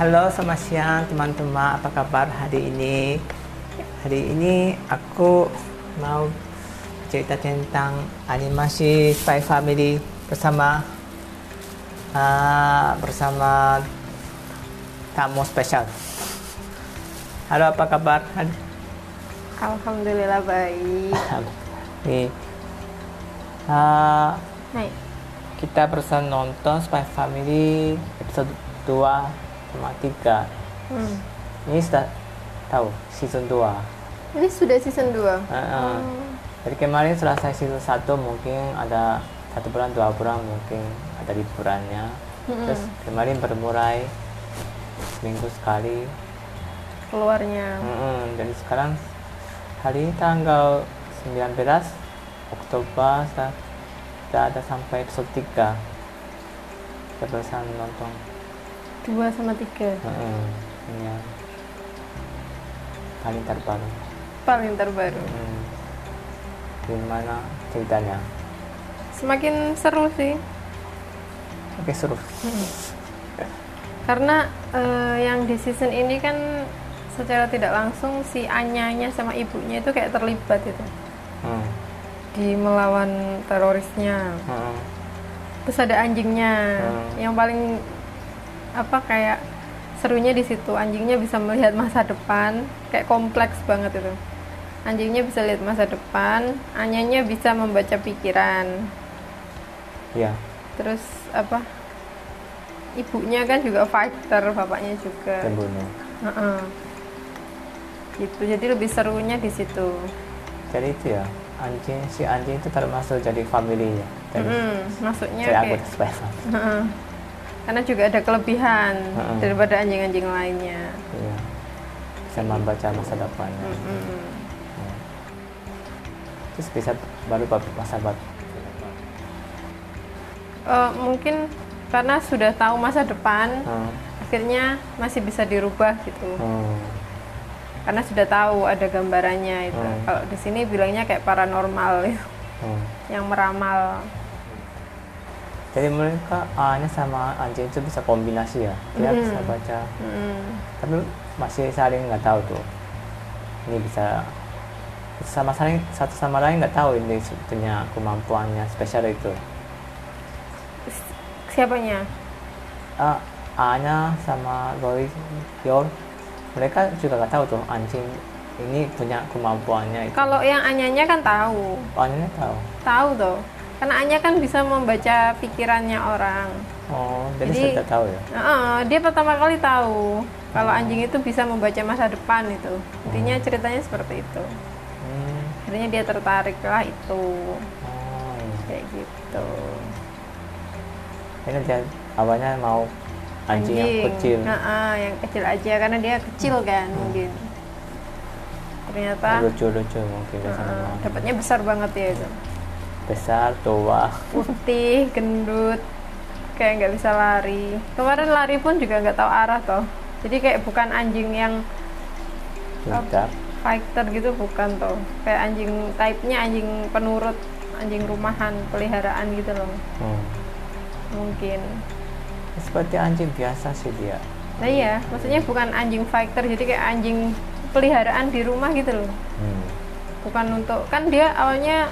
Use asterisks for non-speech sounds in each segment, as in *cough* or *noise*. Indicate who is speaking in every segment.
Speaker 1: Halo, selamat siang teman-teman. Apa kabar hari ini? Hari ini aku mau cerita tentang animasi Spy Family bersama ah, bersama tamu spesial. Halo, apa kabar? Hal-
Speaker 2: Alhamdulillah baik.
Speaker 1: Nih, ah,
Speaker 2: Naik.
Speaker 1: kita bersama nonton Spy Family episode 2 sama 3.
Speaker 2: Hmm.
Speaker 1: Ini sudah tahu season 2.
Speaker 2: Ini sudah season 2.
Speaker 1: Heeh. Dari kemarin selesai season 1 mungkin ada satu bulan dua bulan mungkin ada liburannya. Terus kemarin baru mulai seminggu sekali.
Speaker 2: Keluarnya.
Speaker 1: Heeh, Jadi sekarang hari ini tanggal 19 Oktober sa- kita ada sampai episode 3 kita bersama nonton
Speaker 2: 2 sama 3.
Speaker 1: Heeh, ini yang paling terbaru
Speaker 2: Paling terbaru.
Speaker 1: Heeh. Hmm. gimana ceritanya
Speaker 2: Semakin seru sih.
Speaker 1: oke suruh
Speaker 2: Karena eh, yang di season ini kan secara tidak langsung si anyanya sama ibunya itu kayak terlibat itu
Speaker 1: Hmm.
Speaker 2: di melawan terorisnya.
Speaker 1: Hmm.
Speaker 2: Terus ada anjingnya.
Speaker 1: Hmm.
Speaker 2: Yang paling apa kayak serunya di situ anjingnya bisa melihat masa depan, kayak kompleks banget itu. Anjingnya bisa lihat masa depan, anyanya bisa membaca pikiran.
Speaker 1: Ya.
Speaker 2: Terus apa? Ibunya kan juga fighter, bapaknya juga.
Speaker 1: Pembunuh.
Speaker 2: Heeh. Gitu. Jadi lebih serunya di situ.
Speaker 1: Jadi itu ya. Anjing si anjing itu termasuk jadi family ya. Jadi
Speaker 2: Mm, maksudnya
Speaker 1: saya
Speaker 2: kayak-
Speaker 1: anggota spy family.
Speaker 2: Heeh. Karena juga ada kelebihan
Speaker 1: Heeh.
Speaker 2: daripada anjing-anjing lainnya.
Speaker 1: Iya. Bisa membaca masa depannya.
Speaker 2: Mm.
Speaker 1: Hmm. Terus bisa baru bab- masa bat-
Speaker 2: Eh, mungkin karena sudah tahu masa depan,
Speaker 1: Hmm.
Speaker 2: akhirnya masih bisa dirubah gitu.
Speaker 1: Hmm.
Speaker 2: Karena sudah tahu ada gambarannya itu.
Speaker 1: Hmm.
Speaker 2: Kalau di sini bilangnya kayak paranormal *laughs* gitu,
Speaker 1: Hmm.
Speaker 2: yang meramal.
Speaker 1: Jadi mereka hanya sama anjing itu bisa kombinasi ya. Dia bisa baca. Hmm.
Speaker 2: Mm.
Speaker 1: Tapi masih saling nggak tahu tuh. Ini bisa sama saling satu sama lain nggak tahu ini punya kemampuannya spesial itu.
Speaker 2: S- Siapanya?
Speaker 1: Ah, Ana sama Roy Yor mereka juga nggak tahu tuh anjing ini punya kemampuannya itu.
Speaker 2: Kalau yang Anyanya kan tahu,
Speaker 1: Anjingnya tahu.
Speaker 2: tahu tuh. Karena Anya kan bisa membaca pikirannya orang.
Speaker 1: Oh, jadi,
Speaker 2: Jadi-
Speaker 1: sudah tahu ya.
Speaker 2: Heeh, dia pertama kali tahu kalau anjing itu bisa membaca masa depan itu. Intinya ceritanya seperti itu.
Speaker 1: Hmm.
Speaker 2: Akhirnya dia tertarik lah itu.
Speaker 1: Oh,
Speaker 2: kayak gitu
Speaker 1: iya. ini dia awalnya mau anjing, yang kecil. Hmm.
Speaker 2: Nah, ah, yang kecil aja karena dia kecil kan mungkin ternyata
Speaker 1: Lucu-lucu mungkin
Speaker 2: ah,
Speaker 1: biasanya
Speaker 2: ah,
Speaker 1: mau.
Speaker 2: dapatnya besar banget ya itu
Speaker 1: besar tua.
Speaker 2: putih gendut kayak nggak bisa lari kemarin lari pun juga nggak tahu arah toh jadi kayak bukan anjing yang
Speaker 1: Tidak.
Speaker 2: fighter gitu bukan toh kayak anjing type-nya anjing penurut anjing rumahan peliharaan gitu loh
Speaker 1: Hmm.
Speaker 2: mungkin
Speaker 1: Ya, Seperti anjing biasa sih dia.
Speaker 2: nah iya maksudnya bukan anjing fighter jadi kayak anjing peliharaan di rumah gitu loh
Speaker 1: Hmm.
Speaker 2: bukan untuk kan dia awalnya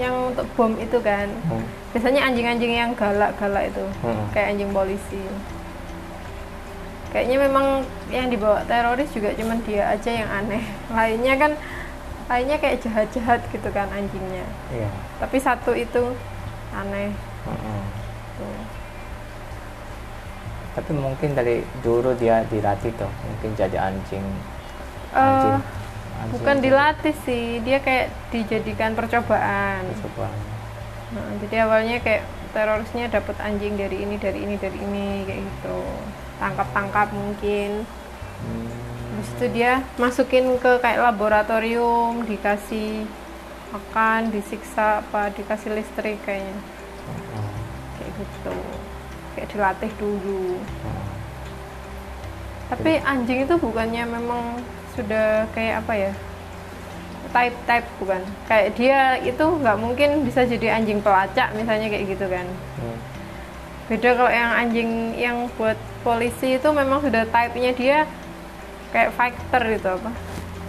Speaker 2: yang untuk bom itu kan
Speaker 1: Hmm.
Speaker 2: biasanya anjing-anjing yang galak-galak itu
Speaker 1: Mm-mm.
Speaker 2: kayak anjing polisi kayaknya memang yang dibawa teroris juga cuman dia aja yang aneh *laughs* lainnya kan lainnya kayak jahat-jahat gitu kan anjingnya
Speaker 1: Iya.
Speaker 2: tapi satu itu aneh
Speaker 1: Hmm.
Speaker 2: tuh
Speaker 1: Tapi mungkin dari dulu dia dilatih tuh, mungkin jadi anjing.
Speaker 2: Eh,
Speaker 1: anjing
Speaker 2: bukan
Speaker 1: itu
Speaker 2: dilatih sih dia kayak dijadikan percobaan
Speaker 1: percobaan.
Speaker 2: Nah, jadi awalnya kayak terorisnya dapat anjing dari ini, dari ini, dari ini kayak gitu. Tangkap-tangkap mungkin.
Speaker 1: Hmm,
Speaker 2: Habis itu dia masukin ke kayak laboratorium, dikasih makan, disiksa apa, dikasih listrik kayaknya.
Speaker 1: hmm,
Speaker 2: Kayak gitu. Kayak dilatih dulu.
Speaker 1: hmm.
Speaker 2: Tapi anjing itu bukannya memang sudah kayak apa ya? type-type bukan kayak dia itu nggak mungkin bisa jadi anjing pelacak misalnya kayak gitu kan
Speaker 1: Hmm.
Speaker 2: beda kalau yang anjing yang buat polisi itu memang sudah type-nya dia kayak fighter gitu apa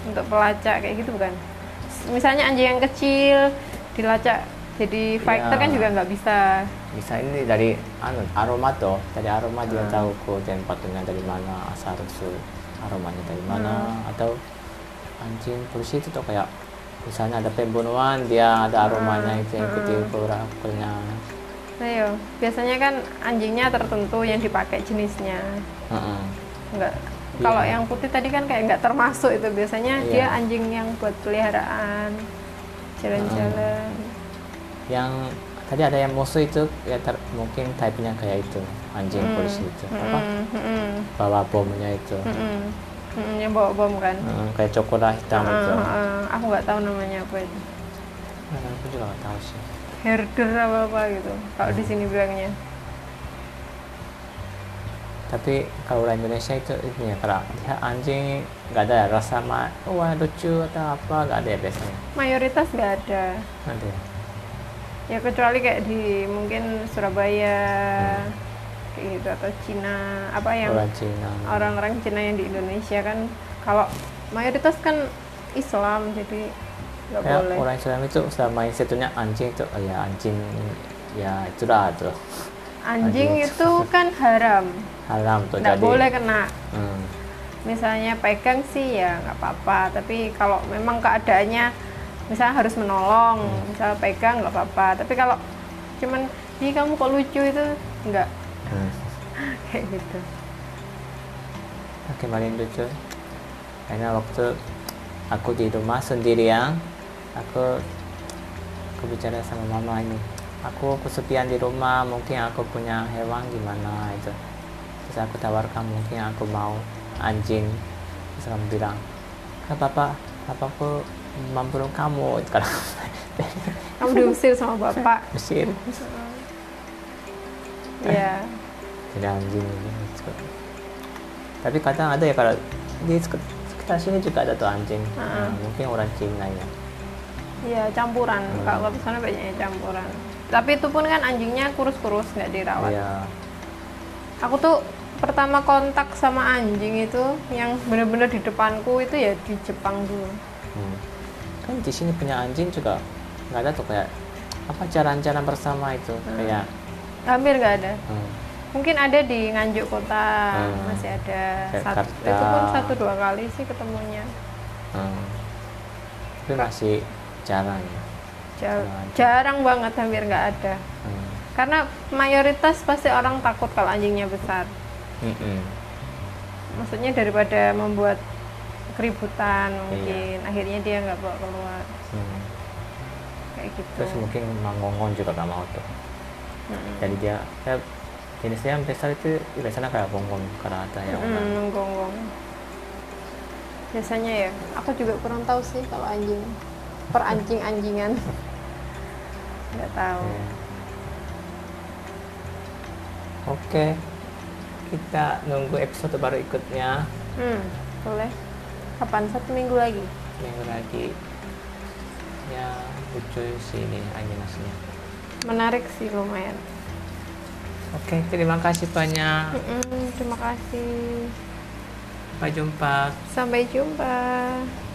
Speaker 2: untuk pelacak kayak gitu bukan misalnya anjing yang kecil dilacak jadi fighter
Speaker 1: Iya.
Speaker 2: kan juga nggak bisa
Speaker 1: bisa ini dari anu, aroma toh dari aroma dia tahu kemudian patungnya dari mana asal usul aromanya dari mana atau anjing polisi itu tuh kayak misalnya ada pembunuhan dia ada aromanya itu yang ikuti pura-puranya
Speaker 2: ayo Nah, biasanya kan anjingnya tertentu yang dipakai jenisnya
Speaker 1: Heeh.
Speaker 2: nggak kalau yang putih tadi kan kayak nggak termasuk itu biasanya
Speaker 1: Iya.
Speaker 2: dia anjing yang buat peliharaan jalan-jalan
Speaker 1: yang tadi ada yang musuh itu ya ter- mungkin type-nya kayak itu anjing polisi itu apa
Speaker 2: Mm, mm,
Speaker 1: bawa bomnya itu
Speaker 2: mm, mm, mm, yang bawa bom kan
Speaker 1: Heeh, kayak coklat hitam itu
Speaker 2: Ah, ah, ah. aku nggak tahu namanya apa itu
Speaker 1: Nah, aku juga nggak tahu sih
Speaker 2: herder apa apa gitu kalau
Speaker 1: Hmm.
Speaker 2: di sini bilangnya
Speaker 1: tapi kalau orang Indonesia itu ini ya kalau lihat anjing nggak ada ya rasa ma wah lucu atau apa nggak ada ya biasanya
Speaker 2: mayoritas nggak ada
Speaker 1: nanti
Speaker 2: ya kecuali kayak di mungkin Surabaya kayak gitu atau Cina apa yang
Speaker 1: Hmm. orang Cina
Speaker 2: orang-orang Cina yang di Indonesia kan kalau mayoritas kan Islam jadi nggak
Speaker 1: ya,
Speaker 2: boleh
Speaker 1: orang Islam itu selama institutnya anjing itu oh ya anjing ya itulah tuh
Speaker 2: anjing
Speaker 1: Anjing.
Speaker 2: itu kan haram
Speaker 1: haram tuh
Speaker 2: nggak
Speaker 1: jadi
Speaker 2: boleh kena
Speaker 1: Hmm,
Speaker 2: misalnya pegang sih ya nggak apa-apa tapi kalau memang keadaannya misalnya harus menolong misalnya pegang nggak apa-apa tapi kalau cuman di kamu kok lucu itu nggak
Speaker 1: hmm.
Speaker 2: kayak gitu
Speaker 1: Nah, kemarin lucu karena waktu aku di rumah sendirian aku aku bicara sama mama ini aku kesepian di rumah mungkin aku punya hewan gimana itu terus aku tawarkan mungkin aku mau anjing terus kamu bilang kan papa papaku membunuh kamu *laughs* itu kan
Speaker 2: kamu diusir sama bapak
Speaker 1: *laughs* usir
Speaker 2: ya
Speaker 1: jadi anjing gitu. tapi kadang ada ya kalau di sek- sekitar sini juga ada tuh anjing Nah, mungkin orang Cina ya
Speaker 2: ya campuran kalau di sana banyaknya campuran tapi itu pun kan anjingnya kurus-kurus nggak dirawat
Speaker 1: Iya.
Speaker 2: aku tuh pertama kontak sama anjing itu yang bener-bener di depanku itu ya di Jepang dulu
Speaker 1: Hmm. kan di sini punya anjing juga nggak ada tuh kayak apa jalan-jalan bersama itu kayak
Speaker 2: hampir nggak ada
Speaker 1: hmm,
Speaker 2: mungkin ada di Nganjuk kota
Speaker 1: Hmm.
Speaker 2: masih ada
Speaker 1: Jakarta.
Speaker 2: satu itu pun satu dua kali sih ketemunya
Speaker 1: hmm. tapi masih jarang ya
Speaker 2: Jar-
Speaker 1: Jarang.
Speaker 2: jarang banget hampir nggak ada
Speaker 1: hmm.
Speaker 2: karena mayoritas pasti orang takut kalau anjingnya besar
Speaker 1: Mm-mm.
Speaker 2: maksudnya daripada membuat
Speaker 1: Iya.
Speaker 2: keributan mungkin akhirnya dia nggak bawa keluar
Speaker 1: Hmm.
Speaker 2: kayak gitu
Speaker 1: terus mungkin mangongon juga nggak mau tuh jadi dia ya, jenisnya yang besar itu biasanya kayak bonggong karena ada yang
Speaker 2: Hmm, menggonggong. Biasanya ya, aku juga kurang tahu sih kalau anjing per anjing anjingan. *laughs* Nggak tahu.
Speaker 1: Ya.
Speaker 3: Oke, kita nunggu episode baru ikutnya
Speaker 2: Hmm, boleh. Kapan? Satu minggu lagi.
Speaker 3: minggu lagi. Ya,
Speaker 1: lucu sih ini animasinya
Speaker 2: Menarik sih lumayan.
Speaker 3: oke terima kasih banyak.
Speaker 2: Mm-mm, terima Hmm, kasih.
Speaker 3: Sampai jumpa.
Speaker 2: Sampai jumpa.